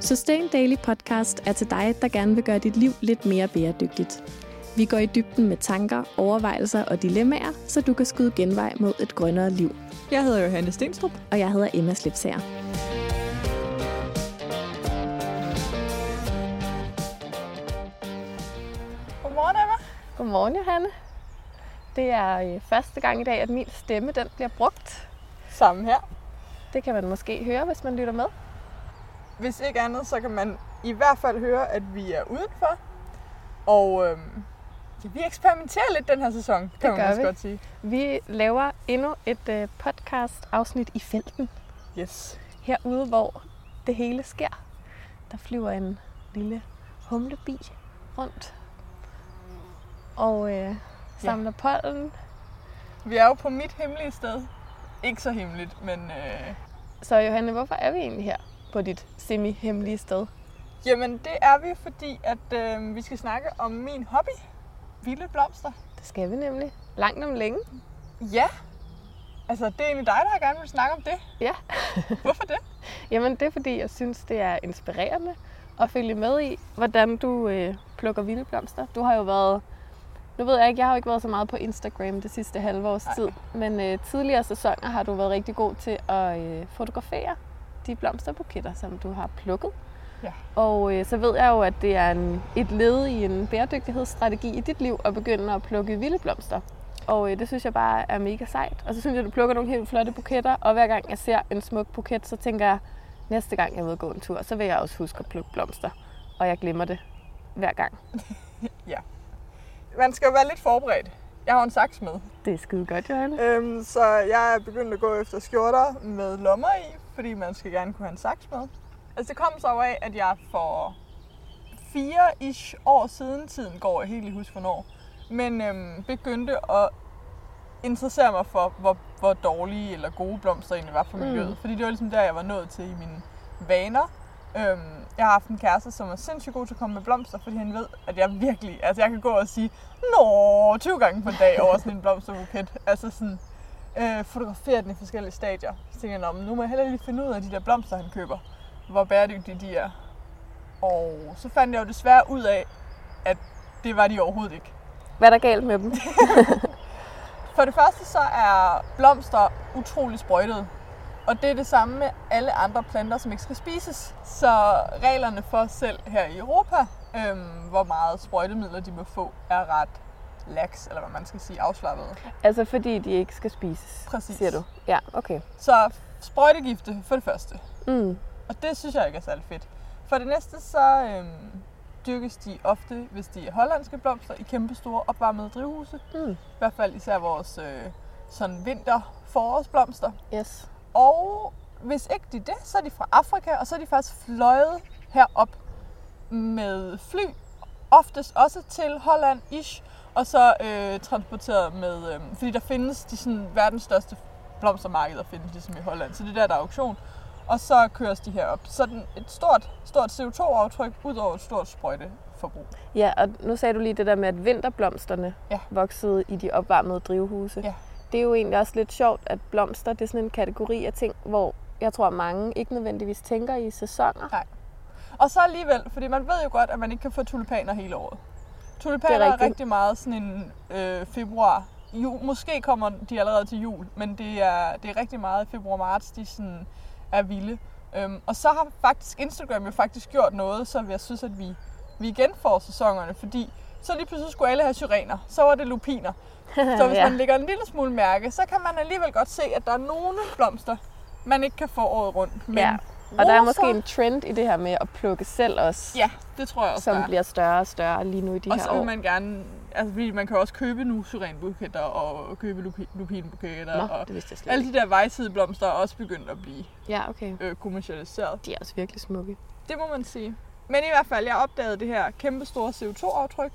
Sustain Daily Podcast er til dig, der gerne vil gøre dit liv lidt mere bæredygtigt. Vi går i dybden med tanker, overvejelser og dilemmaer, så du kan skyde genvej mod et grønnere liv. Jeg hedder Johanne Stenstrup. Og jeg hedder Emma Slipsager. Godmorgen, Emma. Godmorgen, Johanne. Det er øh, første gang i dag, at min stemme den bliver brugt. Sammen her. Det kan man måske høre, hvis man lytter med. Hvis ikke andet, så kan man i hvert fald høre, at vi er udenfor. Og øhm, ja, vi eksperimenterer lidt den her sæson, kan man gør også vi. godt sige. Vi laver endnu et øh, podcast-afsnit i felten, Yes. herude, hvor det hele sker. Der flyver en lille humlebi rundt og øh, samler pollen. Vi er jo på mit hemmelige sted. Ikke så hemmeligt, men øh, Så Johanne, hvorfor er vi egentlig her på dit semi-hemmelige sted? jamen det er vi, fordi at øh, vi skal snakke om min hobby, vilde blomster. Det skal vi nemlig. Langt om længe. Ja. Altså, det er egentlig dig, der gerne vil snakke om det. Ja. Hvorfor det? Jamen det er fordi, jeg synes, det er inspirerende at følge med i, hvordan du øh, plukker vilde blomster. Du har jo været, nu ved jeg ikke, jeg har jo ikke været så meget på Instagram det sidste halve års Nej. tid, men øh, tidligere sæsoner har du været rigtig god til at øh, fotografere de blomsterbuketter, som du har plukket. Ja. Og øh, så ved jeg jo, at det er en, et led i en bæredygtighedsstrategi i dit liv at begynde at plukke vilde blomster. Og øh, det synes jeg bare er mega sejt. Og så synes jeg, du plukker nogle helt flotte buketter, og hver gang jeg ser en smuk buket, så tænker jeg, næste gang jeg vil gå en tur, så vil jeg også huske at plukke blomster. Og jeg glemmer det hver gang. Man skal jo være lidt forberedt. Jeg har jo en saks med. Det er skide godt, Johanne. Øhm, så jeg er begyndt at gå efter skjorter med lommer i, fordi man skal gerne kunne have en saks med. Altså det kom så af, at jeg for fire-ish år siden, tiden går jeg helt i husk hvornår, men øhm, begyndte at interessere mig for, hvor, hvor dårlige eller gode blomster egentlig var for miljøet. Mm. Fordi det var ligesom der, jeg var nået til i mine vaner. Øhm, jeg har haft en kæreste, som er sindssygt god til at komme med blomster, fordi han ved, at jeg virkelig, altså jeg kan gå og sige, Nå, 20 gange på en dag over sådan en blomsterbuket. Altså sådan, øh, fotografere den i forskellige stadier. Så tænker jeg, "Nå, men nu må jeg hellere lige finde ud af de der blomster, han køber. Hvor bæredygtige de er. Og så fandt jeg jo desværre ud af, at det var de overhovedet ikke. Hvad er der galt med dem? For det første så er blomster utrolig sprøjtet. Og det er det samme med alle andre planter, som ikke skal spises. Så reglerne for selv her i Europa, øhm, hvor meget sprøjtemidler de må få, er ret lax, eller hvad man skal sige, afslappet. altså fordi de ikke skal spises, Præcis. siger du. Ja, okay. Så sprøjtegifte for det første. Mm. Og det synes jeg ikke er særlig fedt. For det næste, så øhm, dyrkes de ofte, hvis de er hollandske blomster, i kæmpe store opvarmede drivhuse. Mm. I hvert fald især vores øh, sådan vinter-forårsblomster. Yes. Og hvis ikke de er det, så er de fra Afrika, og så er de faktisk fløjet herop med fly, oftest også til Holland, ish, og så øh, transporteret med, øh, fordi der findes de sådan, verdens største blomstermarkeder, findes ligesom i Holland, så det er der, der er auktion. Og så køres de herop. Så den, et stort, stort CO2-aftryk, ud over et stort sprøjteforbrug. Ja, og nu sagde du lige det der med, at vinterblomsterne Ja. voksede i de opvarmede drivhuse. Ja. Det er jo egentlig også lidt sjovt, at blomster det er sådan en kategori af ting, hvor jeg tror, mange ikke nødvendigvis tænker i sæsoner. Og så alligevel, fordi man ved jo godt, at man ikke kan få tulipaner hele året. Tulipaner Det er er, rigtigt. rigtig meget sådan en øh, februar. Ju, måske kommer de allerede til jul, men det er, det er rigtig meget i februar-marts, de sådan er vilde. Øhm, og så har faktisk Instagram jo faktisk gjort noget, så jeg synes, at vi, vi igen får sæsonerne, fordi så lige pludselig skulle alle have syrener. Så var det lupiner. Så hvis Ja. man lægger en lille smule mærke, så kan man alligevel godt se, at der er nogle blomster, man ikke kan få året rundt. Men Ja. Og der er måske roser- en trend i det her med at plukke selv også, Ja, det tror jeg også, som der er. bliver større og større lige nu i de Og her så vil år. man gerne, altså fordi man kan jo også købe nu syrenbuketter og købe lupi, lupinbuketter Nå, og det vidste jeg slet alle ikke. de der vejsideblomster er også begyndt at blive Ja, okay. øh, kommercialiseret. De er også virkelig smukke. Det må man sige. Men i hvert fald, jeg opdagede det her kæmpe store CO2-aftryk.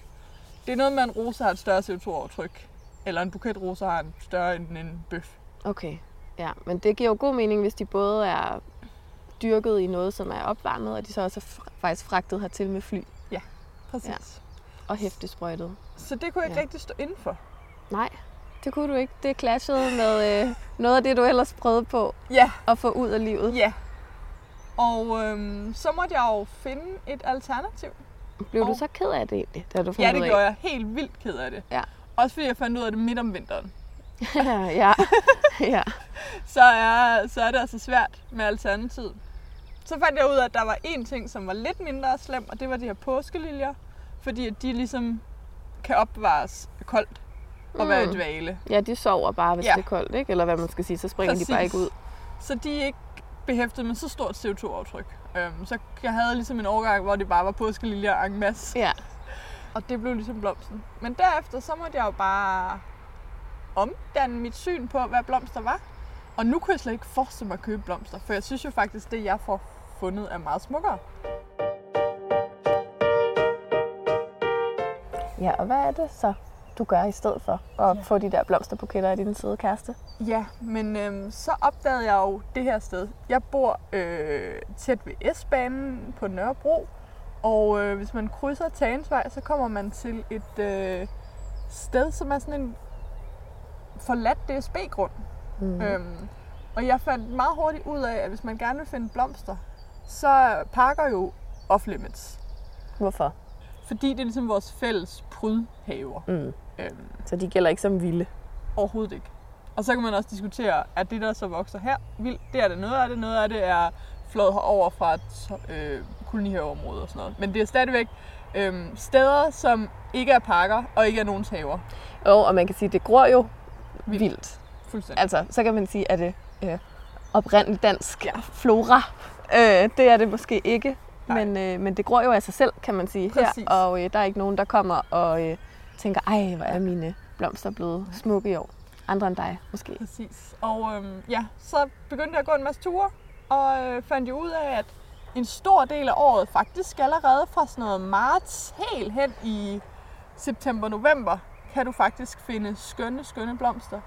Det er noget med, at en rose har et større CO2-aftryk. Eller en buket roser har en større end en bøf. Okay, ja. Men det giver jo god mening, hvis de både er dyrket i noget, som er opvarmet, og de så også er fr- faktisk fragtet hertil med fly Præcis. Ja. og hæftesprøjtet. Så det kunne jeg ikke Ja. ja. rigtig stå indenfor. Nej, det kunne du ikke. Det clashede med øh, noget af det, du ellers prøvede på Ja, at få ud af livet. ja. Og øhm, så måtte jeg jo finde et alternativ. Blev du Og- så ked af det egentlig, da du fandt Ja, det ud af? gjorde jeg helt vildt ked af det. Ja. Også fordi jeg fandt ud af det midt om vinteren. ja, ja. Så er, så er det altså svært med alternativ. Så fandt jeg ud af, at der var en ting, som var lidt mindre slem, og det var de her påskeliljer. Fordi at de ligesom kan opbevares koldt og mm. være i Mm. dvale. Ja, de sover bare, hvis Ja. ja. det er koldt, ikke? Eller hvad man skal sige, så springer Præcis. de bare Præcis. ikke ud. Så de er ikke behæftet med så stort CO2-aftryk. Øhm, så jeg havde ligesom en årgang, hvor det bare var påskeliljer en masse. Ja. Og det blev ligesom blomsten. Men derefter, så måtte jeg jo bare omdanne mit syn på, hvad blomster var. Og nu kunne jeg slet ikke forestille mig at købe blomster, for jeg synes jo faktisk, det jeg får fundet er meget smukkere. Ja, og hvad er det så, du gør i stedet for at ja. få de der blomsterbuketter af din søde kæreste? Ja, men øhm, så opdagede jeg jo det her sted. Jeg bor øh, tæt ved S-banen på Nørrebro, og øh, hvis man krydser Tagensvej, så kommer man til et øh, sted, som er sådan en forladt DSB-grund. Mm. Øhm, og jeg fandt meget hurtigt ud af, at hvis man gerne vil finde blomster, så pakker jo off-limits. Hvorfor? Fordi det er ligesom vores fælles prydhaver. Mm. Øhm, Så de gælder ikke som vilde. overhovedet ikke. Og så kan man også diskutere, at det der så vokser her, vildt, det er det noget af det. Noget af det er flået herover fra et øh, kolonihaveområde og sådan noget. Men det er stadigvæk øhm, steder, som ikke er parker og ikke er nogens haver. Jo, og man kan sige, at det gror jo Vildt. vildt. vildt. Fuldstændig. Altså, så kan man sige, at det øh, oprindeligt dansk Ja. ja. flora, øh, det er det måske ikke. Nej. Men, øh, men det gror jo af sig selv, kan man sige. Præcis. Her, og øh, der er ikke nogen, der kommer og øh, tænker, ej, hvor er mine blomster blevet smukke i år. Andre end dig, måske. Præcis. Og øhm, ja, så begyndte jeg at gå en masse ture, og øh, fandt jo ud af, at en stor del af året, faktisk allerede fra sådan noget marts helt hen i september-november, kan du faktisk finde skønne, skønne blomster.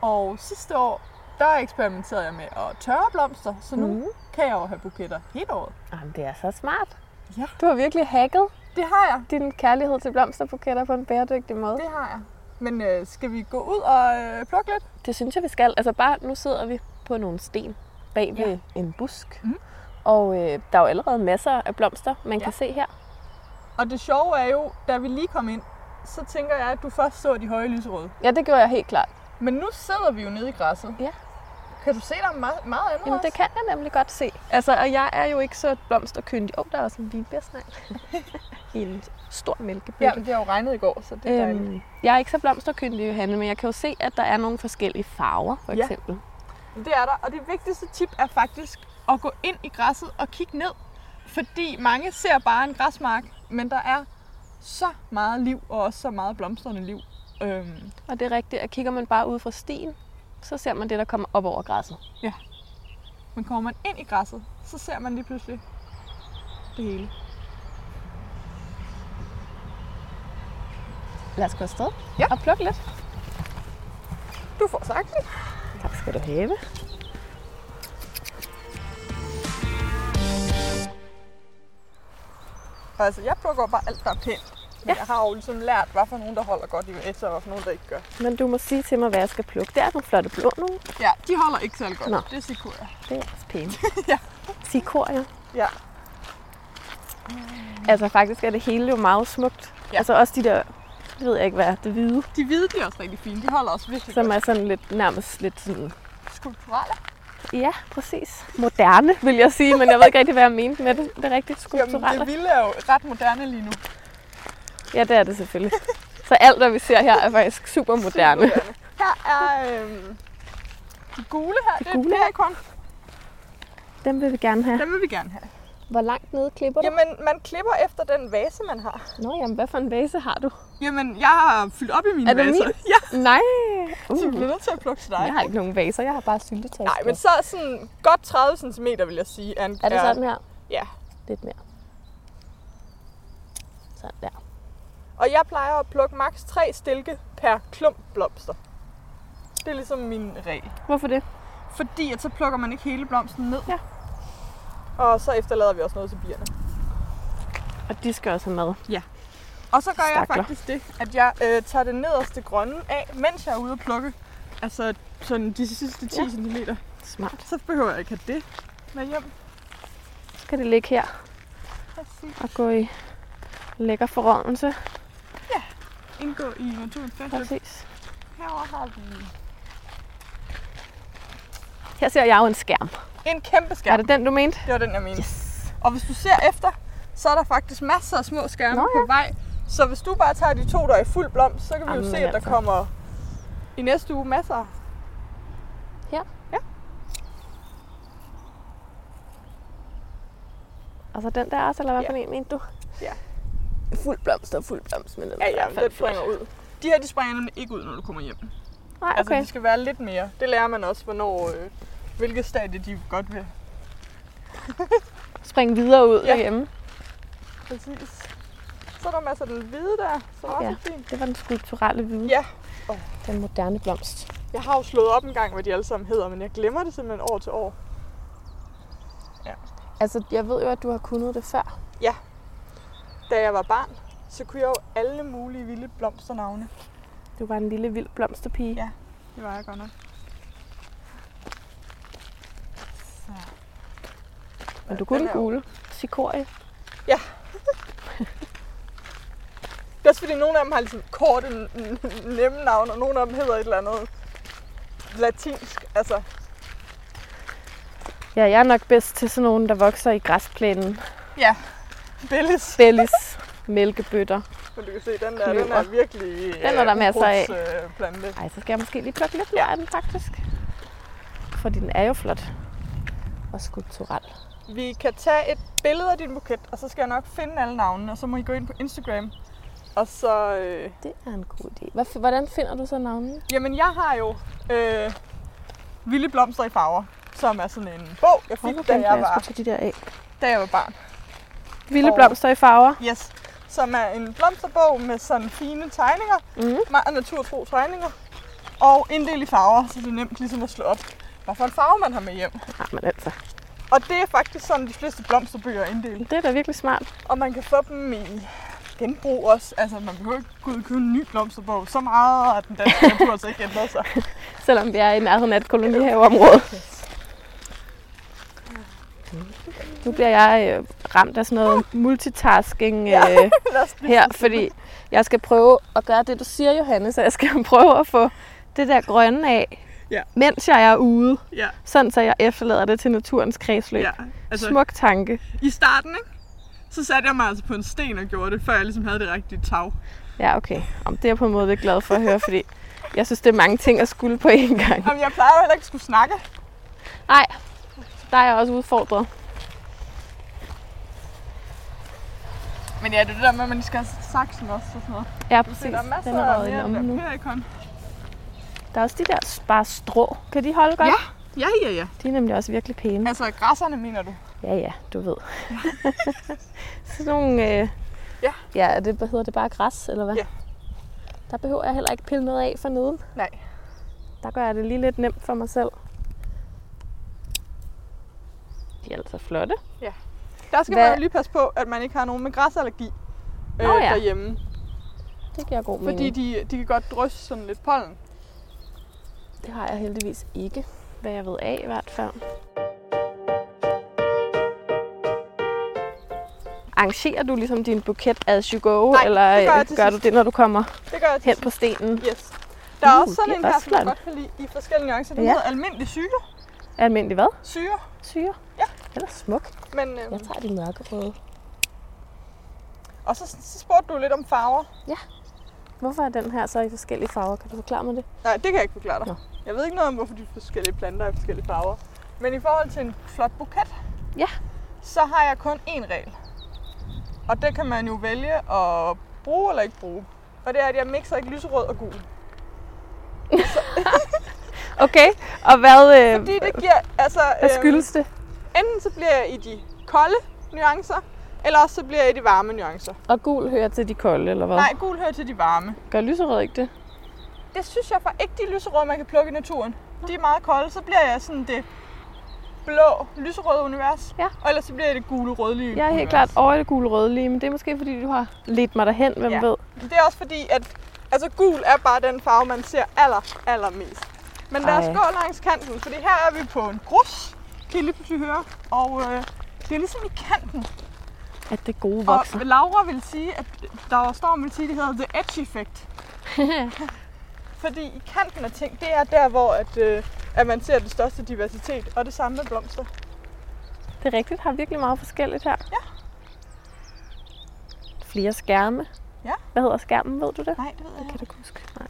Og sidste år, der eksperimenterede jeg med at tørre blomster, så nu mm. Mhm. kan jeg jo have buketter hele året. Jamen, det er så smart. Ja. Du har virkelig hacket Det har jeg. din kærlighed til blomsterbuketter på en bæredygtig måde. Det har jeg. Men øh, skal vi gå ud og øh, plukke lidt? Det synes jeg, vi skal. Altså bare, nu sidder vi på nogle sten bag ved en busk. Mm. Og øh, der er jo allerede masser af blomster, man Ja. ja. kan se her. Og det sjove er jo, da vi lige kom ind, så tænker jeg, at du først så de høje lyserøde. Ja, det gjorde jeg helt klart. Men nu sidder vi jo nede i græsset. Ja. Kan du se, der er meget, meget andet Jamen, det også? kan jeg nemlig godt se. Altså, og jeg er jo ikke så blomsterkyndig. Åh, oh, der er også en vinbærsnegl. I en stor mælkebøtte. Ja, men det har jo regnet i går, så det er dejligt. Øhm, jeg er ikke så blomsterkyndig, Johanne, men jeg kan jo se, at der er nogle forskellige farver, for Ja. eksempel. Det er der, og det vigtigste tip er faktisk at gå ind i græsset og kigge ned. Fordi mange ser bare en græsmark, men der er så meget liv, og også så meget blomstrende liv. Øhm, Og det er rigtigt, at kigger man bare ud fra stien, så ser man det, der kommer op over græsset. men kommer man ind i græsset, så ser man lige pludselig det hele. Lad os gå afsted Ja. og plukke lidt. Du får sagt det. Tak skal du have. Og Altså, jeg plukker bare alt, der er pænt. Men ja. Ja. jeg har jo ligesom lært, hvad for nogen, der holder godt i vaser, og hvad for nogen, der ikke gør. Men du må sige til mig, hvad jeg skal plukke. Det er nogle flotte blå nogle. Ja, de holder ikke særlig godt. Nå. Det er sikura. Det er også pæne. Ja. Sikorier. Ja. Altså faktisk er det hele jo meget smukt. Ja. Ja. Altså også de der, det ved jeg ikke hvad, det hvide, De hvide, de er også rigtig fine. De holder også virkelig som er sådan lidt, nærmest lidt sådan... godt. Skulpturelle. Ja, præcis. Moderne, vil jeg sige, men jeg ved ikke rigtig, hvad jeg mente med det. Det er rigtigt Jamen, det skulpturelle. vilde er jo ret moderne lige nu. Ja, det er det selvfølgelig. Så alt, hvad vi ser her, er faktisk super moderne. Her er øhm, de gule her. Det, gule det er kun. Dem vil vi gerne have. Dem vil vi gerne have. Hvor langt nede klipper du? Jamen, man klipper efter den vase, man har. Nå, jamen, hvad for en vase har du? Jamen, jeg har fyldt op i mine Er det vaser. min? Ja, Nej. så vi Uh, bliver nødt til at plukke til dig. jeg har ikke nogen vaser, jeg har bare syltetøj. Nej, men så er sådan godt 30 cm, vil jeg sige. Er, en, Er det sådan her? Ja. Lidt mere. Sådan der. Og jeg plejer at plukke maks 3 stilke per klump blomster. Det er ligesom min regel. Hvorfor det? Fordi at så plukker man ikke hele blomsten ned. Ja. Og så efterlader vi også noget til bierne. Og de skal også have mad. Og så gør jeg Stakler. faktisk det, at jeg øh, tager det nederste grønne af, mens jeg er ude at plukke. Altså sådan de sidste 10 ja. Ja. cm. Smart. Så behøver jeg ikke have det med hjem. kan det ligge her Præcis. og gå i lækker forrådelse. Indgå i naturens fællesskab. Præcis. Herover har vi Her ser jeg jo en skærm. en kæmpe Ja. Er skærm. det den, du mente? Det var den, jeg mente. Yes. Og hvis du ser efter, så er der faktisk masser af små skærme Nå Nå, ja. ja. på vej. Så hvis du bare tager de to, der er i fuld blomst, så kan vi jo Jamen se, at der altså. kommer i næste uge masser. Og så den der også, eller hvad Ja. for en mente du? Ja. Fuld blomst og fuld blomst, men den er i Ja, hvert ja, fald den flot. springer ud. De her, de springer nemlig ikke ud, når du kommer hjem. Okay. Nej, Altså, okay. de skal være lidt mere. Det lærer man også, hvornår, øh, hvilket stadie de godt vil. Spring videre ud ja. Ja. derhjemme. Præcis. Så er der masser af den hvide der, som også Ja. ja. er fint. Det var den skulpturelle hvide. Ja. Den moderne blomst. Jeg har jo slået op en gang, hvad de alle sammen hedder, men jeg glemmer det simpelthen år til år. Altså, jeg ved jo, at du har kunnet det før. Da jeg var barn, så kunne jeg jo alle mulige vilde blomsternavne. Du var en lille vild blomsterpige. Ja. Det var jeg godt nok. Så. Men du kunne Den den er gule. Sikorie. Det er også fordi, nogle af dem har ligesom korte, n- n- nemme navne, og nogle af dem hedder et eller andet latinsk. Altså, Ja, jeg er nok bedst til sådan nogen, der vokser i græsplænen. Bellis. Bellis, mælkebøtter. Men du kan se, den der, den Kløver. er virkelig øh, Den er der masser af. plante. Ej, så skal jeg måske lige plukke lidt mere af den, faktisk. Fordi den er jo flot. Og skulptural. Vi kan tage et billede af din buket, og så skal jeg nok finde alle navnene, og så må I gå ind på Instagram. Og så, øh, Det er en god idé. Hvad, hvordan finder du så navnene? jamen jeg har jo øh, Vilde Blomster i Farver, som er sådan en bog, jeg fik, da jeg, var, tage de der af. da jeg var barn. Vilde Og- blomster i farver. Yes. Som er en blomsterbog med sådan fine tegninger. Mhm. Meget naturtro tegninger. Og en del i farver, så det er nemt ligesom at slå op, hvad for en farve man har med hjem. Ja, men altså. Og det er faktisk sådan, de fleste blomsterbøger er inddelt. Det er da virkelig smart. Og man kan få dem i genbrug også. Altså, man behøver ikke gå ud og købe en ny blomsterbog. Så meget at den danske natur altså ikke ændret sig. Selvom vi er i nærheden af et kolonihaveområde. Nu bliver jeg øh, ramt af sådan noget multitasking øh, Lad os lige- her, fordi jeg skal prøve at gøre det, du siger, Johanne, så jeg skal prøve at få det der grønne af, Ja. mens jeg er ude, ja, sådan så jeg efterlader det til naturens kredsløb. ja. Altså... Altså, Smuk tanke. i starten, ikke? Så satte jeg mig altså på en sten og gjorde det, før jeg ligesom havde det rigtige tag. Ja, okay. Om det er jeg på en måde lidt glad for at høre, fordi jeg synes, det er mange ting at skulle på én gang. Jamen, jeg plejer jo heller ikke at skulle snakke. Nej, der er jeg også udfordret. Men ja, det er det der med, at man lige skal have saksen også og sådan noget. Ja, Se, præcis. der er masser Den er røget i af lommen mere nu. perikon. Der er også de der bare strå. Kan de holde godt? Ja. Ja, ja, ja. De er nemlig også virkelig pæne. Altså, græsserne mener du? Ja, ja, du ved. Sådan nogle... Øh... Ja. Ja, er det, hvad hedder det bare græs, eller hvad? Ja. Der behøver jeg heller ikke pille noget af for neden. Nej. Der gør jeg det lige lidt nemt for mig selv. De er altså flotte. Der skal Hvad- Hvad? man jo lige passe på, at man ikke har nogen med græsallergi øh, Nå ja. derhjemme. Det giver god Fordi mening. de, de kan godt drysse sådan lidt pollen. Det har jeg heldigvis ikke, hvad jeg ved af i hvert fald. Arrangerer du ligesom din buket as you go, Nej, eller det gør jeg øh, til gør du sidst. det, når du kommer Det gør jeg til hen på stenen? Yes. Der er Uh, også sådan det er en her, også som jeg flot. godt kan lide i forskellige nuancer. Den Ja. ja. hedder almindelig syre. Almindelig hvad? syre. Syre? Ja. Eller smuk. Men, øhm, Jeg tager de mørkerøde. og så, så spurgte du lidt om farver. Hvorfor er den her så i forskellige farver? Kan du forklare mig det? Nej, det kan jeg ikke forklare dig. Nå. Jeg ved ikke noget om, hvorfor de forskellige planter er i forskellige farver. Men i forhold til en flot buket, Ja. så har jeg kun én regel. Og det kan man jo vælge at bruge eller ikke bruge. Og det er, at jeg mixer ikke lyserød og gul. Okay, og hvad, øh, Fordi det giver, altså, hvad øhm, skyldes det? enten så bliver jeg i de kolde nuancer, eller også så bliver jeg i de varme nuancer. Og gul hører til de kolde, eller hvad? Nej, gul hører til de varme. Gør lyserød ikke det? Det synes jeg faktisk ikke, de lyserøde, man kan plukke i naturen. De er meget kolde, så bliver jeg sådan det blå, lyserøde univers. Ja. Og ellers så bliver jeg det gule, rødlige Jeg er helt univers. klart over i det gule røde lige, men det er måske fordi, du har ledt mig derhen, hvem Ja. ved. Det er også fordi, at altså, gul er bare den farve, man ser aller, allermest. Men lad os Ej. gå langs kanten, fordi her er vi på en grus, kan I lige pludselig høre. Og øh, Det er ligesom i kanten. At det gode Og vokser. Laura vil sige, at der står, vil sige, det hedder The Edge Effect. Fordi i kanten af ting, det er der, hvor at, øh, at man ser den største diversitet. Og det samme med blomster. Det er rigtigt. Har virkelig meget forskelligt her. Ja. Flere skærme. Ja. Hvad hedder skærmen? Ved du det? Nej, det ved jeg Kan du ikke huske? Nej.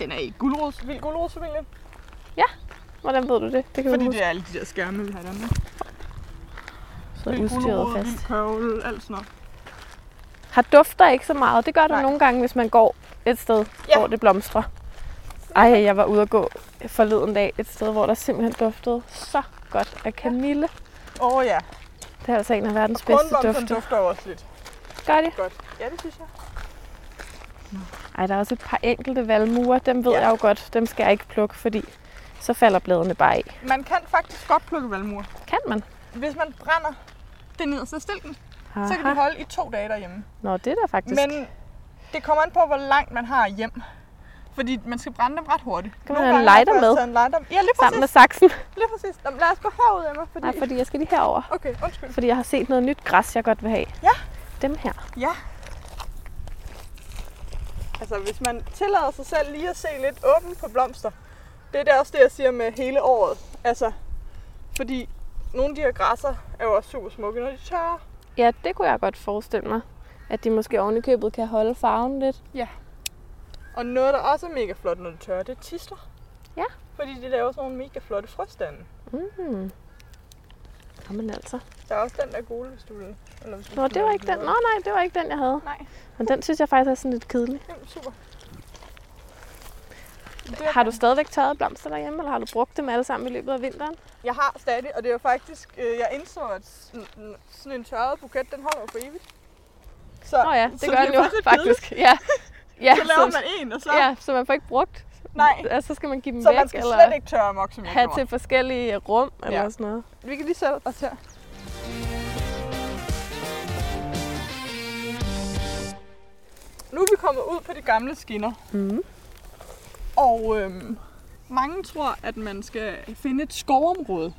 Den er i guldrods, vild guldrodsfamilien. Hvordan ved du det? Det kan Fordi du huske. det er alle de der skærme, vi har i Danmark. Så er udstyret fast. vild kørvel, alt sådan noget. Har dufter ikke så meget. Det gør der Nej. nogle gange, hvis man går et sted, Ja. ja. hvor det blomstrer. Ej, jeg var ude at gå forleden dag et sted, hvor der simpelthen duftede så godt af kamille. Åh oh, ja, Det er altså en af verdens bedste kornblomsterne dufter. dufter jo også lidt Gør det? godt. Ja, det synes jeg. Ej, der er også et par enkelte valmuer. Dem ved Ja. ja. jeg jo godt. Dem skal jeg ikke plukke, fordi så falder bladene bare af. Man kan faktisk godt plukke valmuer. Kan man? Hvis man brænder det nederste af stilken, Aha. så kan de holde i to dage derhjemme. Nå, det er der faktisk. Men det kommer an på, hvor langt man har hjem. Fordi man skal brænde dem ret hurtigt. Kan man Nogle have en gange har jeg lighter først med? taget En lighter. Ja, lige præcis. Sammen med saksen. Lige præcis. Jamen, lad os gå herud, Emma. Fordi... Nej, fordi jeg skal lige herover. Okay, undskyld. Fordi jeg har set noget nyt græs, jeg godt vil have. Ja. Dem her. Ja. Altså, hvis man tillader sig selv lige at se lidt åbent på blomster, det er det også det, jeg siger med hele året. Altså, fordi nogle af de her græsser er jo også super smukke, når de tørrer. Ja, det kunne jeg godt forestille mig. At de måske oven i købet kan holde farven lidt. Og noget, der også er mega flot, når de tørrer, det er tisler. Ja. Fordi de laver sådan nogle mega flotte frøstande. Mm. Jamen altså. Der er også den der gule, hvis du vil. Eller hvis du Nå, det var ikke den. Nå, nej, det var ikke den, jeg havde. Nej, Men den synes jeg faktisk er sådan lidt kedelig. jamen, super. Har du stadigvæk tørret blomster derhjemme, eller har du brugt dem alle sammen i løbet af vinteren? Jeg har stadig, og det er jo faktisk, øh, jeg indså, at sådan sådan en tørret buket, den holder jo for evigt. Så, Nå ja, det så gør den jo faktisk lidt kedeligt. faktisk. Ja. Ja, Så laver man en, og så... ja, så man får ikke brugt. Nej, Altså, så skal man give dem så væk, man skal eller slet ikke tørre amok, som jeg have gjorde. til forskellige rum, eller Ja. sådan noget. Vi kan lige sætte os her. Nu er vi kommet ud på de gamle skinner, Mm. og øhm, mange tror, at man skal finde et skovområde.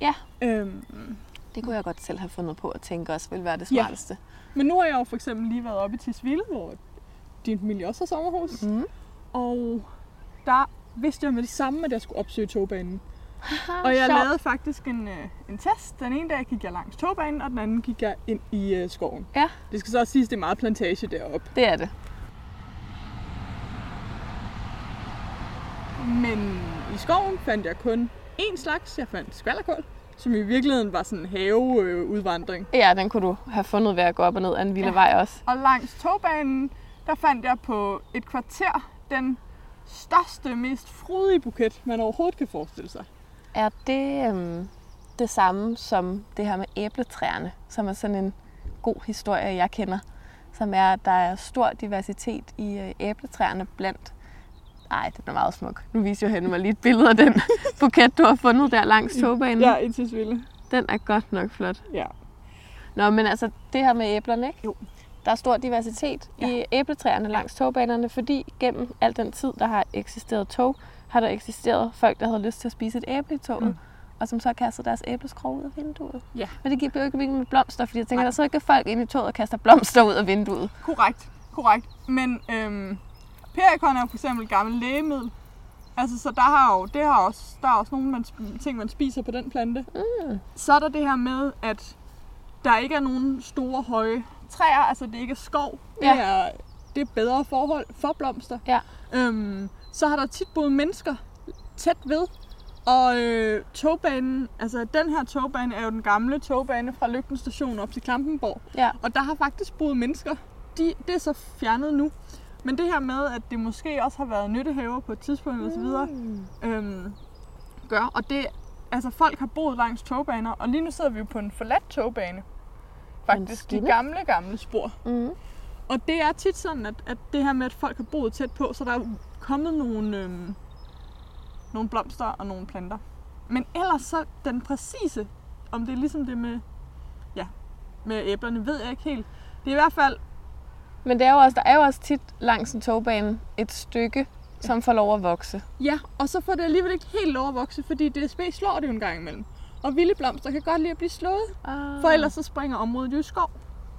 Ja. Øhm, Det kunne jeg godt selv have fundet på at tænke også ville være det Ja. smarteste. Men nu har jeg jo for eksempel lige været oppe i Tisvilde, hvor din familie også har sommerhus. Mhm. Og der vidste jeg med det samme, at jeg skulle opsøge togbanen. Ja. Og jeg lavede faktisk en, øh, en test. Den ene dag gik jeg langs togbanen, og den anden gik jeg ind i øh, skoven. Ja. Det skal så også siges, at det er meget plantage deroppe. Det er det. Men i skoven fandt jeg kun én slags. Jeg fandt skvallerkål, som i virkeligheden var sådan en haveudvandring. Ja, den kunne du have fundet ved at gå op og ned ad en vilde ja. vej også. Og langs togbanen, der fandt jeg på et kvarter den største, mest frodige buket, man overhovedet kan forestille sig. Er det øhm, det samme som det her med æbletræerne, som er sådan en god historie, jeg kender? Som er, at der er stor diversitet i øh, æbletræerne blandt... Ej, den er meget smuk. Nu viser Johanne mig lige et billede af den buket, du har fundet der langs togbanen. Ja, i Tisvilde. Den er godt nok flot. Ja. Nå, men altså det her med æblerne, ikke? Jo. Der er stor diversitet ja. i æbletræerne langs togbanerne, fordi gennem al den tid, der har eksisteret tog, har der eksisteret folk, der havde lyst til at spise et æble i toget, Mm. mm. og som så kastede deres æbleskrog ud af vinduet. Ja. Men det giver jo ikke mening med blomster, fordi jeg tænker, Nej. der sidder ikke folk ind i toget og kaster blomster ud af vinduet. Korrekt, korrekt. Men øhm, perikon er jo for eksempel gammel lægemiddel. Altså, så der, har jo, det har også, der er også nogle man, sp- ting, man spiser på den plante. Mm. Så er der det her med, at der ikke er nogen store, høje træer. Altså, det ikke er skov. Det, Ja. er, det er bedre forhold for blomster. Ja. Øhm, så har der tit boet mennesker tæt ved. Og øh, togbanen, altså den her togbane er jo den gamle togbane fra Lygten station op til Klampenborg. Ja. Og der har faktisk boet mennesker. De, det er så fjernet nu. Men det her med, at det måske også har været nyttehaver på et tidspunkt mm. osv., øhm, gør. Og det, altså folk har boet langs togbaner, og lige nu sidder vi jo på en forladt togbane. Faktisk de skinner. gamle, gamle spor. Mm. Og det er tit sådan, at, at det her med, at folk har boet tæt på, så der er kommet nogle, øhm, nogle blomster og nogle planter. Men ellers så den præcise, om det er ligesom det med, ja, med æblerne, ved jeg ikke helt. Det er i hvert fald, Men det er jo også, der er jo også tit langs en togbane et stykke, som får lov at vokse. ja, og så får det alligevel ikke helt lov at vokse, fordi DSB slår det jo en gang imellem. og vilde blomster kan godt lide at blive slået. Ah. For ellers så springer området jo i skov.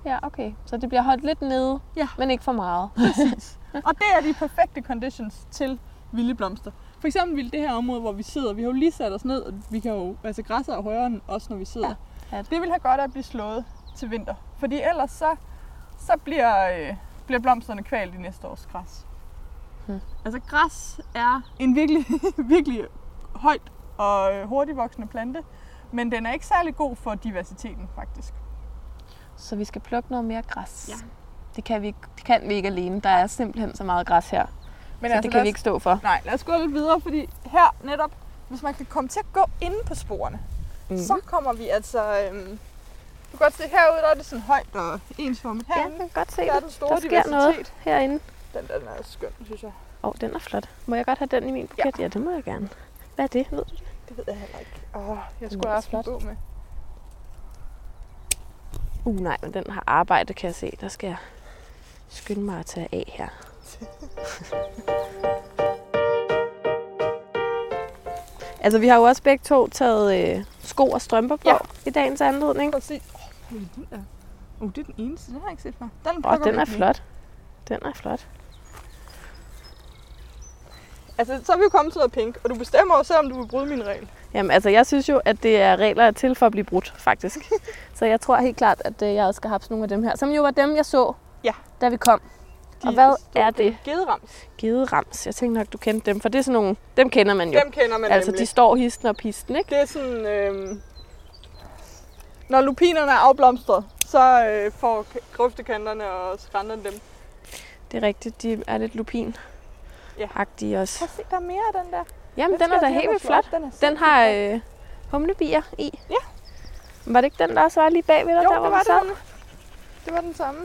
Ja, okay. Så det bliver holdt lidt nede, Ja. men ikke for meget. Præcis. og det er de perfekte conditions til vilde blomster. For eksempel ville det her område, hvor vi sidder, vi har jo lige sat os ned, og vi kan jo, altså græsset er højere end os, når vi sidder. Ja. Ja. Ja. Det vil have godt af at blive slået til vinter. Fordi ellers så, så bliver, øh, bliver blomsterne kvalt i næste års græs. Hmm. Hmm. Altså græs er en virkelig, virkelig højt og øh, hurtigvoksende plante, men den er ikke særlig god for diversiteten faktisk. Så vi skal plukke noget mere græs. Ja. Det kan, vi, ikke- det kan vi ikke alene. Der er simpelthen så meget græs her. Men så altså, det lad kan os- vi ikke stå for. Nej, lad os gå lidt videre, fordi her netop, hvis man kan komme til at gå inde på sporene, Mhm. mm. så kommer vi altså... Øhm, du kan godt se herude, der er det sådan højt og ensformet Ja, herinde. jeg kan godt se der er det. den store Der sker noget diversitet. herinde. Den, den er skøn, synes jeg. Åh, oh, den er flot. Må jeg godt have den i min buket? Ja, ja det må jeg gerne. Hvad er det? Ved du det? Det ved jeg heller ikke. Åh, jeg er skulle have flot. haft en bog med. Uh, nej, men den har arbejde, kan jeg se. Der skal jeg skynde mig at tage af her. altså, vi har jo også begge to taget øh, sko og strømper på ja. Ja. i dagens anledning. Præcis. Åh, oh, den der. Uh, det er den eneste. Den har jeg ikke set før. Den, Og plukker den vi er lige. flot. Den er flot. Altså, så er vi jo kommet til at pink, og du bestemmer jo selv, om du vil bryde min regel. Jamen, altså, jeg synes jo, at det er regler der er til for at blive brudt, faktisk. så jeg tror helt klart, at øh, jeg også skal have nogle af dem her, som jo var dem, jeg så, Ja. da vi kom. De og hvad består er af det? Gederams. Gederams. Jeg tænkte nok, du kendte dem, for det er sådan nogle, dem kender man jo. Dem kender man altså, nemlig. de står histen og pisten, ikke? Det er sådan, øh, når lupinerne er afblomstret, så øh, får k- grøftekanterne og skrænterne dem. Det er rigtigt, de er lidt lupin-agtige Ja. også. Prøv at se, der er mere af den der. Jamen, den er da helt vildt flot. Den, er Den sindssygt har flot. øh, humlebier i. Ja. Var det ikke den, der også var lige bagved dig, jo, der det hvor var vi sad? det. Det var den samme.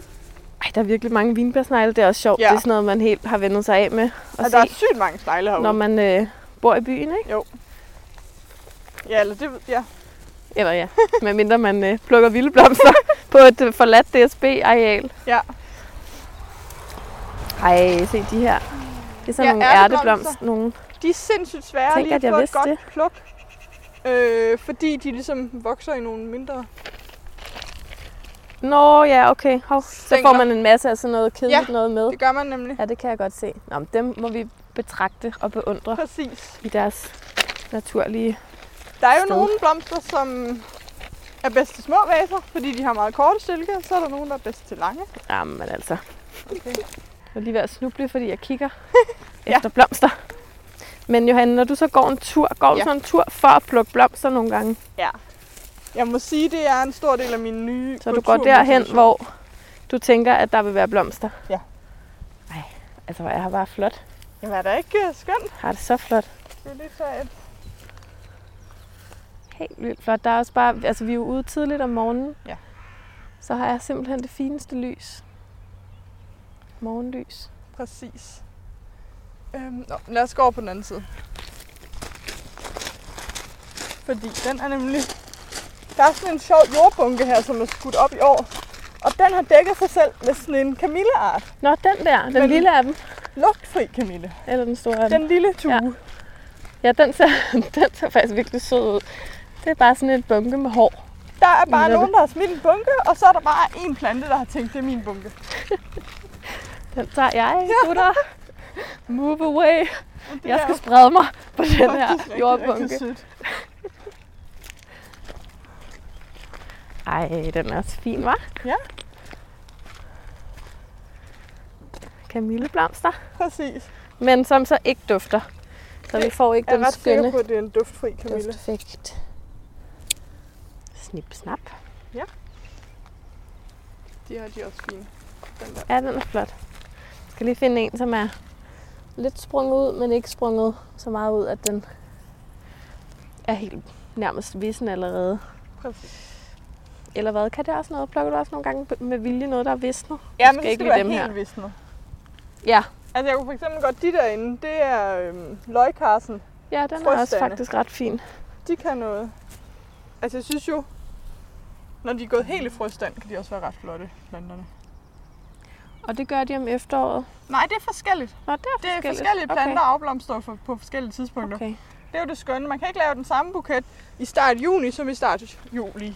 Ej, der er virkelig mange vinbærsnegle. Det er også sjovt. Ja. Det er sådan noget, man helt har vendet sig af med at Og Altså, der er se, sygt mange snegle herude. når man øh, bor i byen, ikke? Ja, eller det, ja. Eller ja, medmindre man øh, plukker vilde blomster på et øh, forladt DSB-areal. ja. Ej, se de her. Det er sådan Ja, nogle ærteblomster. ærteblomster. Nogle. De er sindssygt svære Tænk, lige at jeg at få et vidste godt det. pluk. Øh, fordi de ligesom vokser i nogle mindre... Nå ja, okay. Hov. Så Stængler. får man en masse af sådan noget kedeligt ja. noget med. Det gør man nemlig. Ja, det kan jeg godt se. Nå, men dem må vi betragte og beundre Præcis. i deres naturlige... Der er jo sted. nogle blomster, som er bedst til små vaser, fordi de har meget korte stilke, og så er der nogle, der er bedst til lange. Jamen altså. Okay. Jeg er lige ved at snuble, fordi jeg kigger Ja. efter blomster. Men Johanne, når du så går en tur, går du Ja. så en tur for at plukke blomster nogle gange? Ja. Jeg må sige, det er en stor del af min nye Så du går derhen, kulturmotivation. hvor du tænker, at der vil være blomster? Ja. Ej, altså hvor er her bare flot. Jamen er det ikke øh, skønt? Har det så flot. Det er øh, lidt sejt. Helt vildt flot. Der er også bare, altså vi er jo ude tidligt om morgenen. Ja. Så har jeg simpelthen det fineste lys. Morgenlys. Præcis. Øhm, nå, lad os gå over på den anden side. Fordi den er nemlig... Der er sådan en sjov jordbunke her, som er skudt op i år. Og den har dækket sig selv med sådan en kamilleart. Nå, den der, den Men- lille af dem, Lugtfri kamille. eller den store af dem. Den lille tue. Ja. Ja. Ja, den ser, den ser faktisk virkelig sød ud. Det er bare sådan et bunke med hår. Der er bare Netop. nogen, der har smidt en bunke, og så er der bare en plante, der har tænkt, det er min bunke. Den tager jeg, gutter. Move away. Det Jeg er skal jo sprede mig på den faktisk her rigtig, jordbunke. rigtig sødt. Ej, den er også fin, var? Ja. Kamilleblomster. Præcis. Men som så ikke dufter. Så vi Det får ikke Jeg er den ret sikker skønne på, at det er en duftfri kamille. dufteffekt. Snip, snap. De her de er også fine. Den der. Ja, den er flot. Jeg skal lige finde en, som er lidt sprunget ud, men ikke sprunget så meget ud, at den er helt nærmest vissen allerede. Præcis. Eller hvad? Kan det også noget? Plukker du også nogle gange med vilje noget, der er visnet? Ja, skal men ikke det skal lide være dem helt her. visnet. Ja. Altså jeg kunne for eksempel godt, de derinde, det er øhm, løgkarsen. Ja, den er også Frøstande. faktisk ret fin. De kan noget. Altså jeg synes jo, når de er gået helt i frøstand, kan de også være ret flotte, planterne. Og det gør de om efteråret. Nej, det er forskelligt. Nå, det er Det er forskelligt. forskellige planter okay. afblomster for, på forskellige tidspunkter. Okay. okay. Det er jo det skønne. Man kan ikke lave den samme buket i start juni som i start juli.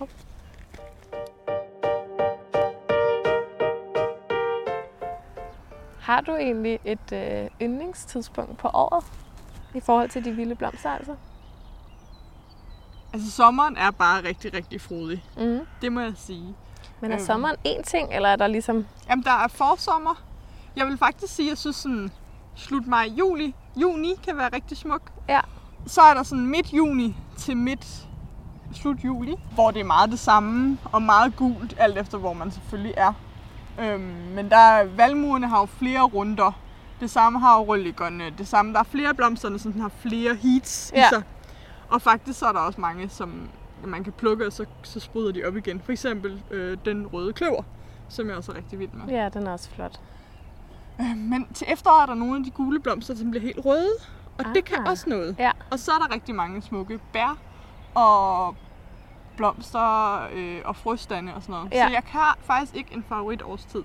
Har du egentlig et øh, yndlingstidspunkt på året i forhold til de vilde blomster altså? Altså sommeren er bare rigtig, rigtig frodig. Mm. Det må jeg sige. Men er Øhm. sommeren én ting, eller er der ligesom... Jamen der er forsommer. Jeg vil faktisk sige, at jeg synes sådan slut maj, juli, juni kan være rigtig smuk. Ja. Så er der sådan midt juni til midt slut juli, hvor det er meget det samme og meget gult, alt efter hvor man selvfølgelig er. Øhm, men der er, valmuerne har jo flere runder. Det samme har jo røllikerne. Det samme, der er flere af blomsterne, som har flere heats Ja. i sig. Og faktisk så er der også mange, som man kan plukke, og så, så spruder de op igen. For eksempel øh, den røde kløver, som jeg også er rigtig vild med. Ja, den er også flot. Men til efteråret er der nogle af de gule blomster, som bliver helt røde, og det kan Ah. også noget. Ja. Og så er der rigtig mange smukke bær og blomster øh, og frøstande og sådan noget. Ja. Så jeg har faktisk ikke en favorit årstid.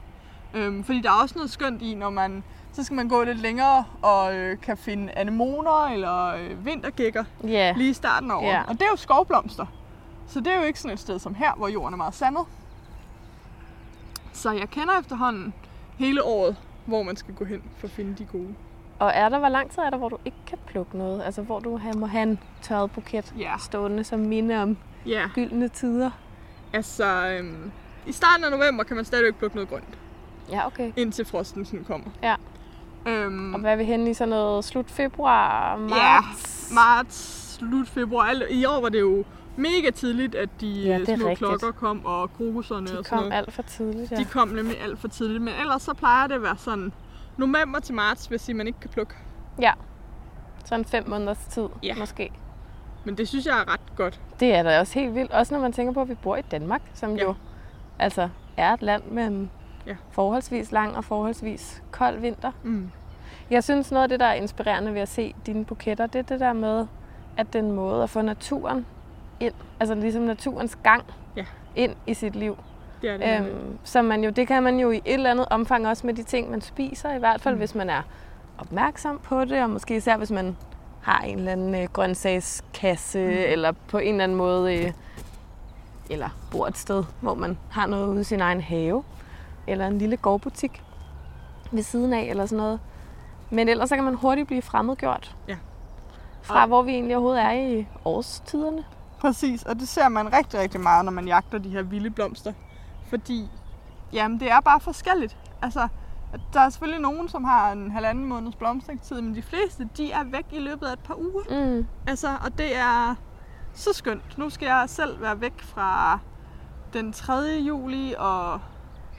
Øhm, fordi der er også noget skønt i, når man så skal man gå lidt længere og øh, kan finde anemoner eller øh, vintergækker Ja. lige i starten af året. Ja. Og det er jo skovblomster. Så det er jo ikke sådan et sted som her, hvor jorden er meget sandet. Så jeg kender efterhånden hele året, hvor man skal gå hen for at finde de gode. Og er der, hvor lang tid er der, hvor du ikke kan plukke noget? Altså, hvor du ha- må have en tørret buket Ja. stående som minde om Ja, gyldne tider? altså øhm, i starten af november kan man stadigvæk plukke noget grønt, Ja, okay. indtil frosten sådan kommer. Ja. Øhm, Og hvad er vi henne i sådan noget slut februar, marts? Ja, marts, slut februar. Alt, I år var det jo mega tidligt, at de Ja, det ja, er små rigtigt. klokker kom, og krokusserne De og sådan kom noget. alt for tidligt, ja. De kom nemlig alt for tidligt, men ellers så plejer det at være sådan november til marts, hvis I man ikke kan plukke. ja. Sådan fem måneders tid, Ja. måske. Men det synes jeg er ret godt. Det er da også helt vildt. Også når man tænker på, at vi bor i Danmark, som Ja. ja. jo altså er et land med en Ja. forholdsvis lang og forholdsvis kold vinter. Mm. Jeg synes, noget af det, der er inspirerende ved at se dine buketter, det er det der med, at den måde at få naturen ind, altså ligesom naturens gang Ja. ind i sit liv. Det er det. Øhm. Øhm, som man jo, det kan man jo i et eller andet omfang også med de ting, man spiser, i hvert fald mm. hvis man er opmærksom på det, og måske især hvis man har en eller anden øh, grøntsagskasse, mm. eller på en eller anden måde, øh, eller bor et sted, hvor man har noget ude i sin egen have, eller en lille gårdbutik ved siden af, eller sådan noget. Men ellers så kan man hurtigt blive fremmedgjort. Ja. Fra Og- hvor vi egentlig overhovedet er i årstiderne. Præcis, og det ser man rigtig, rigtig meget, når man jagter de her vilde blomster. Fordi, jamen det er bare forskelligt. Altså, der er selvfølgelig nogen, som har en halvanden måneds blomstringstid, men de fleste, de er væk i løbet af et par uger. Mm. Altså, og det er så skønt. Nu skal jeg selv være væk fra den 3. juli og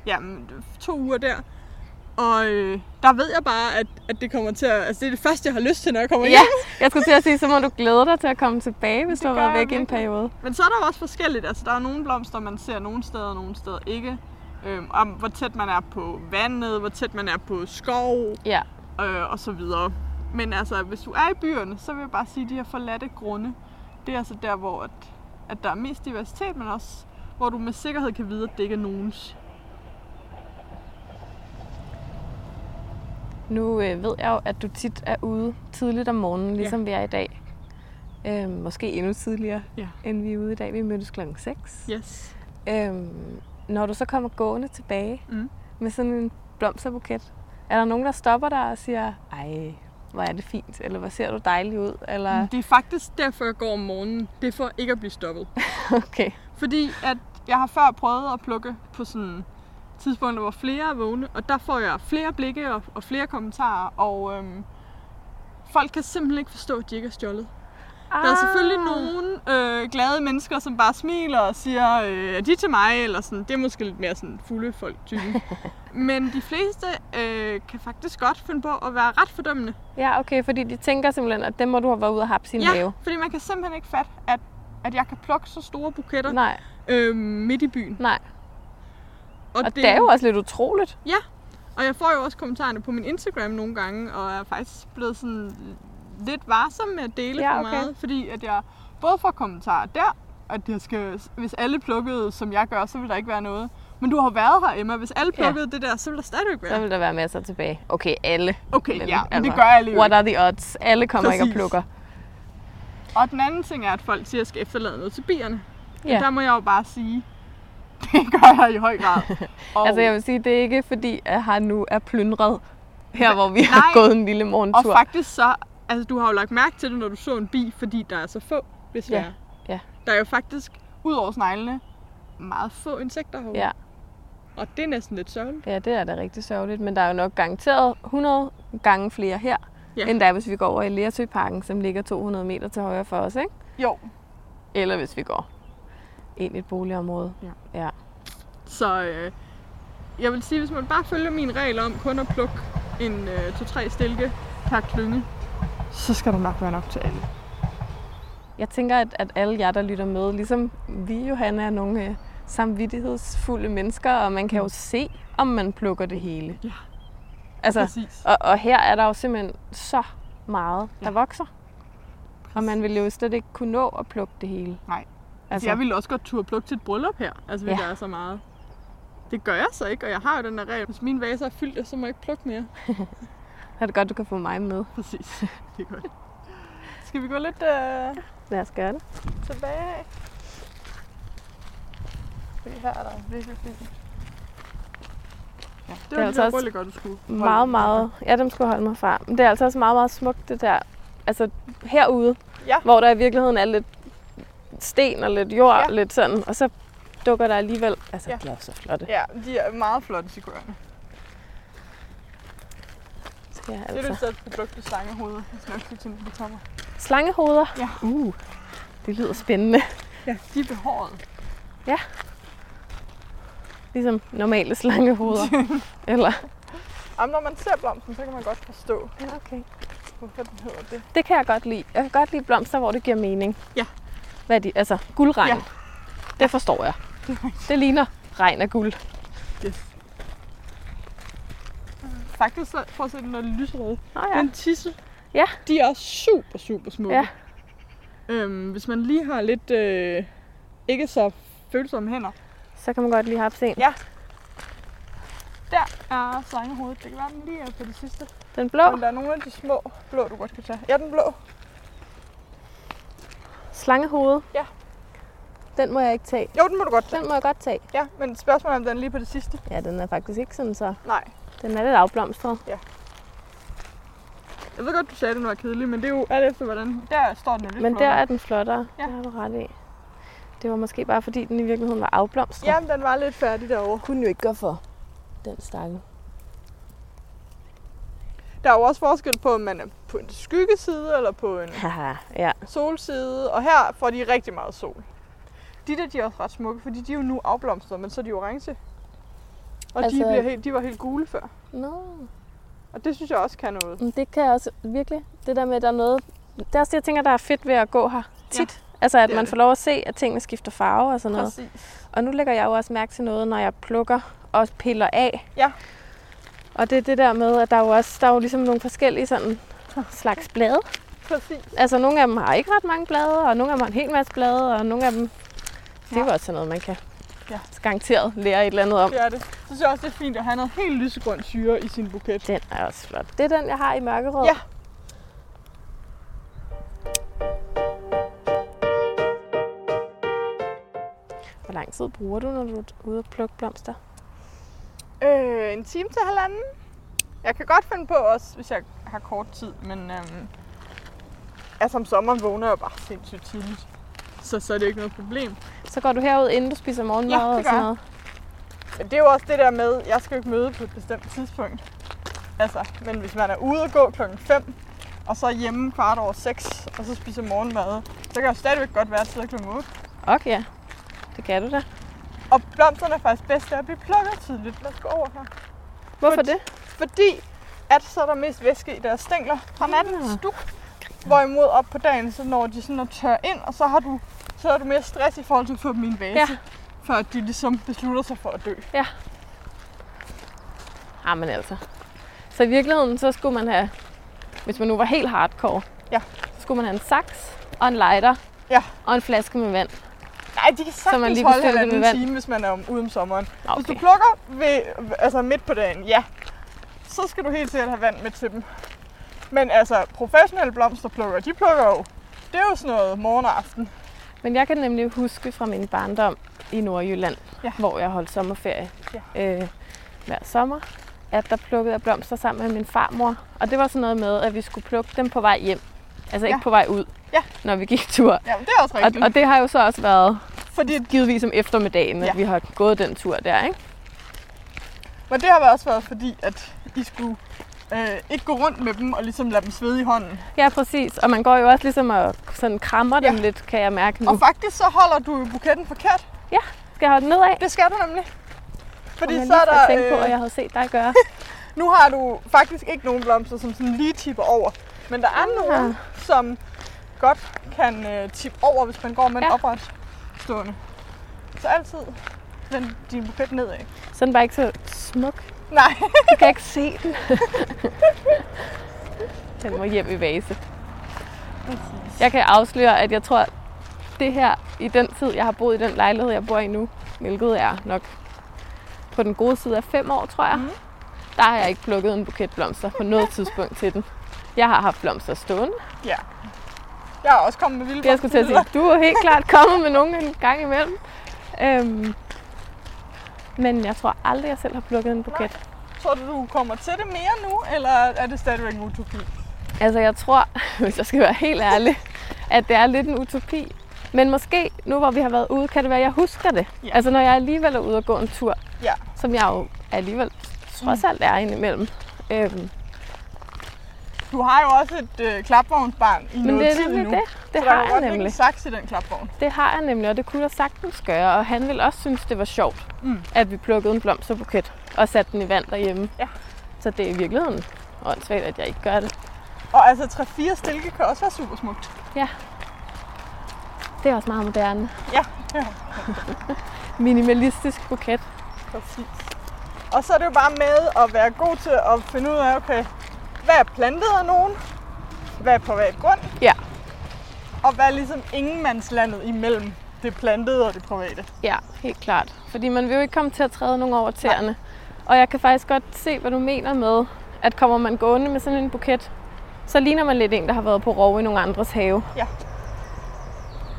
jamen, to uger der. Og øh, der ved jeg bare, at, at det kommer til at... Altså, det er det første, jeg har lyst til, når jeg kommer Ja, hjem. jeg skulle til at sige, så må du glæde dig til at komme tilbage, hvis Det du har gør været jeg væk i en virkelig. periode. Men så er der jo også forskelligt. Altså, der er nogle blomster, man ser nogle steder, og nogle steder ikke. Øhm, om hvor tæt man er på vandet, hvor tæt man er på skov Ja, øh, og så videre. Men altså, hvis du er i byerne, så vil jeg bare sige, at de her forladte grunde, det er altså der, hvor at, at der er mest diversitet, men også hvor du med sikkerhed kan vide, at det ikke er nogens. nu øh, ved jeg jo, at du tit er ude tidligt om morgenen, ligesom vi er i dag. Øh, måske endnu tidligere, Ja. end vi er ude i dag. Vi mødtes klokken 6. Yes. Øh, når du så kommer gående tilbage Mm. med sådan en blomsterbuket, er der nogen, der stopper dig og siger, ej, hvor er det fint, eller hvor ser du dejlig ud, eller Det er faktisk derfor, jeg går om morgenen. Det er for ikke at blive stoppet. okay. Fordi at jeg har før prøvet at plukke på sådan tidspunkter, hvor flere er vågne, og der får jeg flere blikke og, og flere kommentarer, og øhm, folk kan simpelthen ikke forstå, at de ikke er stjålet. Der er selvfølgelig Ah. nogle øh, glade mennesker, som bare smiler og siger, øh, er de til mig? Eller sådan. Det er måske lidt mere sådan fulde folk typen. Men de fleste øh, kan faktisk godt finde på at være ret fordømmende. Ja, okay, fordi de tænker simpelthen, at dem må du have været ude og happe sin Ja, mave. fordi man kan simpelthen ikke fatte, at, at jeg kan plukke så store buketter Nej, øh, midt i byen. nej. Og det... det- det er jo også lidt utroligt. Ja, og jeg får jo også kommentarerne på min Instagram nogle gange, og er faktisk blevet sådan lidt varsom med at dele Ja, for okay. meget, fordi at jeg både får kommentarer der, at jeg skal, hvis alle plukkede, som jeg gør, så vil der ikke være noget. Men du har været her, Emma. Hvis alle Ja. plukkede ja. det der, så vil der stadigvæk Så være. vil der være masser tilbage. Okay, alle. Okay, Men ja, men altså, det gør jeg alligevel. What are the odds? Alle kommer ikke og Mm. Præcis. plukker. Og den anden ting er, at folk siger, at jeg skal efterlade noget til bierne. Ja. Ja. Der må jeg jo bare sige, det gør jeg i høj grad. Og Altså jeg vil sige, det er ikke fordi, at han nu er plyndret her, hvor vi har Nej. gået en lille Og morgentur. faktisk så, altså du har jo lagt mærke til det, når du så en bi, fordi der er så få, hvis Ja, ja. er. ja. Der er jo faktisk, ud over sneglene, meget få insekter herovre. Ja. Og det er næsten lidt sørgeligt. Ja, det er da rigtig sørgeligt, men der er jo nok garanteret 100 gange flere her, ja. Ja. end der er, hvis vi går over i Lertøparken, som ligger 200 meter til højre for os, ikke? Jo. Eller hvis vi går ind i et boligområde. Ja. ja. Så øh, jeg vil sige, hvis man bare følger mine regler om kun at plukke en øh, to-tre stilke per klynge, så skal der nok være nok til alle. Jeg tænker, at, at alle jer, der lytter med, ligesom vi, Johanna, er nogle øh, samvittighedsfulde mennesker, og man kan jo se, om man plukker det hele. Mm. Ja. Altså, Præcis. og, og her er der jo simpelthen så meget, der vokser. Og man ville jo slet ikke kunne nå at plukke det hele. Nej. Altså, Altså, jeg ville også godt turde plukke til et bryllup her, altså hvis Ja. ja. der er så meget. Det gør jeg så ikke, og jeg har jo den der regel. Hvis mine vaser er fyldte, så må jeg ikke plukke mere. er det godt, du kan få mig med. Præcis, det er godt. Skal vi gå lidt øh, Lad os gøre det. tilbage? Det her er der virkelig fint. Ja, det var er det altså der også bryllup, du skulle. holde meget, den. meget... Ja, dem skulle jeg holde mig fra. Men det er altså også meget, meget smukt, det der. Altså herude, Ja. hvor der i virkeligheden er lidt sten og lidt jord, ja. Ja. lidt sådan, og så dukker der alligevel... Altså, ja. Ja. de er jo så flotte. Ja, de er meget flotte figurerne. Ja, Det er det altså. stedet produkt, du slange hovedet. Jeg skal nok sige til, at vi tommer. Slangehoveder. Ja. Uh, det lyder spændende. Ja, de er behåret. Ligesom normale slangehoveder. Eller... Jamen, når man ser blomsten, så kan man godt forstå, Ja, okay. hvorfor den hedder det. Det kan jeg godt lide. Jeg kan godt lide blomster, hvor det giver mening. Ja. Hvad er de? Altså, guldregn. Ja. Det forstår jeg. Det ligner regn af guld. Yes. Faktisk, så, prøv at se den der lyserøde. Nå Ja. Den tisse. Ja. De er også super, super smukke. Ja. Øhm, hvis man lige har lidt øh, ikke så følsomme hænder. Så kan man godt lige have en. Ja. Der er slangehovedet. Det kan være, den lige er på det sidste. Den blå. Men der er nogle af de små blå, du godt kan tage. Ja, den blå. Slangehoved? Ja. Den må jeg ikke tage. Jo, den må du godt tage. Den må jeg godt tage. Ja, men spørgsmålet er, om den er lige på det sidste. Ja, den er faktisk ikke sådan så. Nej. Den er lidt afblomstret. Jeg ved godt, du sagde, at den var kedelig, men det er jo alt efter, hvordan... Der står den jo lidt Men der flottere. er den flottere. Ja. Det har du ret i. Det var måske bare fordi, den i virkeligheden var afblomstret. Jamen, den var lidt færdig derovre. kunne jo ikke gøre for den stakkel. Der er jo også forskel på, om man er på en skyggeside eller på en Haha, ja. solside, og her får de rigtig meget sol. De der, de er også ret smukke, fordi de er jo nu afblomstret, men så er de orange. Og altså... Altså- de, bliver helt, de var helt gule før. Nå, Og det synes jeg også kan noget. men det kan jeg også virkelig. Det der med, at der er noget... Det er også det, jeg tænker, der er fedt ved at gå her tit. Ja. Altså, at det er man det. får lov at se, at tingene skifter farve og sådan noget. Præcis. Og nu lægger jeg jo også mærke til noget, når jeg plukker og piller af. Ja. Og det er det der med, at der er jo også der er jo ligesom nogle forskellige sådan slags blade. Præcis. Altså nogle af dem har ikke ret mange blade, og nogle af dem har en hel masse blade, og nogle af dem... Det er jo også sådan noget, man kan ja. Ja. garanteret lære et eller andet om. Det er det. Så synes jeg også, det er fint at have noget helt lysegrøn syre i sin buket. Den er også flot. Det er den, jeg har i mørkerød. Ja. Hvor lang tid bruger du, når du er ude og plukke blomster? Øh, en time til halvanden. Jeg kan godt finde på også, hvis jeg har kort tid, men øhm, altså om sommeren vågner jeg jo bare sindssygt tidligt. Så, så er det ikke noget problem. Så går du herud, inden du spiser morgenmad Ja, det gør og sådan jeg. noget? Men det er jo også det der med, at jeg skal jo ikke møde på et bestemt tidspunkt. Altså, men hvis man er ude og gå klokken 5, og så er hjemme kvart over 6, og så spiser morgenmad, så kan jeg jo stadigvæk godt være til klokken 8. Okay, ja. Det kan du da. Og blomsterne er faktisk bedst af at blive plukket tidligt. Lad os gå over her. Hvorfor Fordi- det? Fordi at så er der mest væske i deres stængler fra nattens stuk. Hvorimod op på dagen, så når de sådan at tørre ind, og så har du, så har du mere stress i forhold til at få min vase. Ja. Før de ligesom beslutter sig for at dø. Jamen altså. Så i virkeligheden, så skulle man have, hvis man nu var helt hardcore, Ja. så skulle man have en saks og en lighter Ja. og en flaske med vand. Nej, de kan man sagtens lige lige kan holde stille det halvanden med vand. time, hvis man er om, ude om sommeren. Okay. Hvis du Okay. plukker ved, altså midt på dagen, ja, så skal du helt sikkert have vand med til dem. Men altså, professionelle blomsterplukker, de plukker jo Det er jo sådan noget morgen og aften. Men jeg kan nemlig huske fra min barndom i Nordjylland, Ja. ja. hvor jeg holdt sommerferie ja. øh, hver sommer, at der plukkede jeg blomster sammen med min farmor. Og det var sådan noget med, at vi skulle plukke dem på vej hjem. Altså ikke Ja. på vej ud, Ja. når vi gik tur. Jamen, det er også Og, rigtigt. og det har jo så også været Fordi, givetvis om eftermiddagen, at Ja. vi har gået den tur der, ikke? men det har vel også været fordi, at I skulle øh, ikke gå rundt med dem og ligesom lade dem svede i hånden. Ja, præcis. Og man går jo også ligesom og sådan krammer dem Ja. lidt, kan jeg mærke nu. Og faktisk så holder du jo buketten forkert. Skal jeg holde den nedad? Det skal du nemlig. Fordi Kom jeg så er lige til der... at tænke på, øh, at jeg havde set dig gøre. Nu har du faktisk ikke nogen blomster, som sådan lige tipper over. Men der er Ah. nogle, som godt kan øh, tippe over, hvis man går med ja. en Ja. opret stående. Så altid vend din buket nedad. Så er den bare ikke så smuk. Nej, Du kan ikke se den. den må hjem i vase. Jeg kan afsløre, at jeg tror, at det her, i den tid, jeg har boet i den lejlighed, jeg bor i nu, hvilket er nok på den gode side af fem år, tror jeg, mm. der har jeg ikke plukket en buket blomster på noget tidspunkt til den. Jeg har haft blomster stående. ja. Jeg er også kommet med vilde Det jeg skulle til at sige, du er helt klart kommet med nogen en gang imellem. Øhm, men jeg tror aldrig, jeg selv har plukket en buket. Tror du, du kommer til det mere nu, eller er det stadigvæk en utopi? Altså, jeg tror, hvis jeg skal være helt ærlig, at det er lidt en utopi. Men måske, nu hvor vi har været ude, kan det være, at jeg husker det. Ja. Ja. Altså, når jeg alligevel er ude og gå en tur, Ja. som jeg jo alligevel Mm. trods alt er indimellem. Øhm, Du har jo også et øh, klapvognsbarn i men noget det er tid nemlig nu. det. Det så der har kan godt jeg ligge en nemlig. saks i den klapvogn. Det har jeg nemlig, og det kunne jeg sagtens gøre. Og han ville også synes, det var sjovt, Mm. mm. at vi plukkede en blomsterbuket og satte den i vand derhjemme. Ja. Så det er i virkeligheden åndssvagt, at jeg ikke gør det. Og altså 3-4 stilke kan også være super smukt. Det er også meget moderne. Ja, ja. Minimalistisk buket. Præcis. Og så er det jo bare med at være god til at finde ud af, okay, hvad er plantet af nogen? Hvad er på privat grund? Ja. Og hvad er ligesom ingenmandslandet imellem det plantede og det private? Ja, helt klart. Fordi man vil jo ikke komme til at træde nogen over tæerne. Og jeg kan faktisk godt se, hvad du mener med, at kommer man gående med sådan en buket, så ligner man lidt en, der har været på rov i nogle andres have.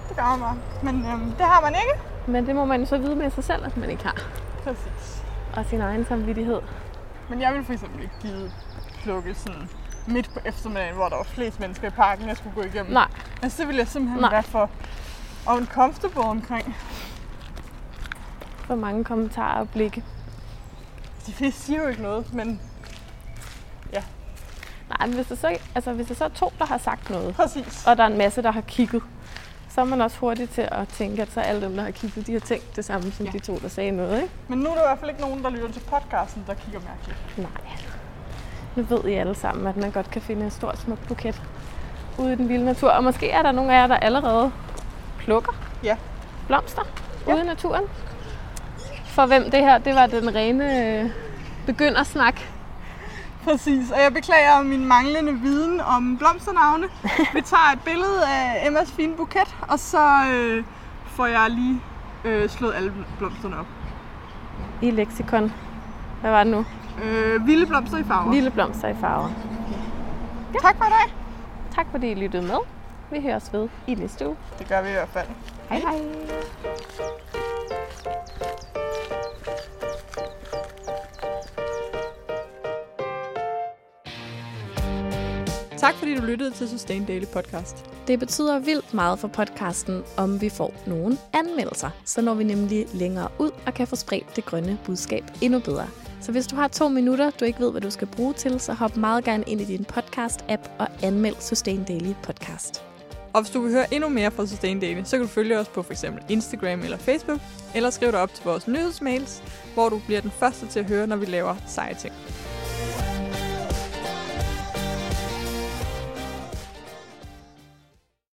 Det gør man. Men øhm, det har man ikke. Men det må man jo så vide med sig selv, at man ikke har. Præcis. Og sin egen samvittighed. Men jeg ville for eksempel ikke give plukke sådan midt på eftermiddagen, hvor der var flest mennesker i parken, jeg skulle gå igennem. Nej, Altså, det ville jeg simpelthen Nej. være for uncomfortable omkring. for mange kommentarer og blikke. De fleste siger jo ikke noget, men Nej, men hvis der, så, altså, hvis der så er to, der har sagt noget, præcis. og der er en masse, der har kigget, så er man også hurtig til at tænke, at så alle dem, der har kigget, de har tænkt det samme som Ja. ja. de to, der sagde noget, ikke? Men nu er der i hvert fald ikke nogen, der lytter til podcasten, der kigger mærkeligt. Nej. Nu ved I alle sammen, at man godt kan finde en stor, smuk buket ude i den vilde natur. Og måske er der nogle af jer, der allerede plukker Ja. blomster Ja. ja. ude i naturen. For hvem det her, det var den rene øh, begyndersnak. Præcis, og jeg beklager min manglende viden om blomsternavne. Vi tager et billede af Emmas fine buket, og så øh, får jeg lige øh, slået alle bl- blomsterne op. I leksikon. Hvad var det nu? Øh, vilde blomster i farver. Lille blomster i farver. Ja. Tak for i dag. Tak fordi I lyttede med. Vi høres ved i næste uge. Det gør vi i hvert fald. Hej hej. Tak fordi du lyttede til Sustain Daily Podcast. Det betyder vildt meget for podcasten, om vi får nogle anmeldelser. Så når vi nemlig længere ud og kan få spredt det grønne budskab endnu bedre. Så hvis du har to minutter, du ikke ved, hvad du skal bruge til, så hop meget gerne ind i din podcast-app og anmeld Sustain Daily Podcast. Og hvis du vil høre endnu mere fra Sustain Daily, så kan du følge os på f.eks. Instagram eller Facebook, eller skriv dig op til vores nyhedsmails, hvor du bliver den første til at høre, når vi laver seje ting.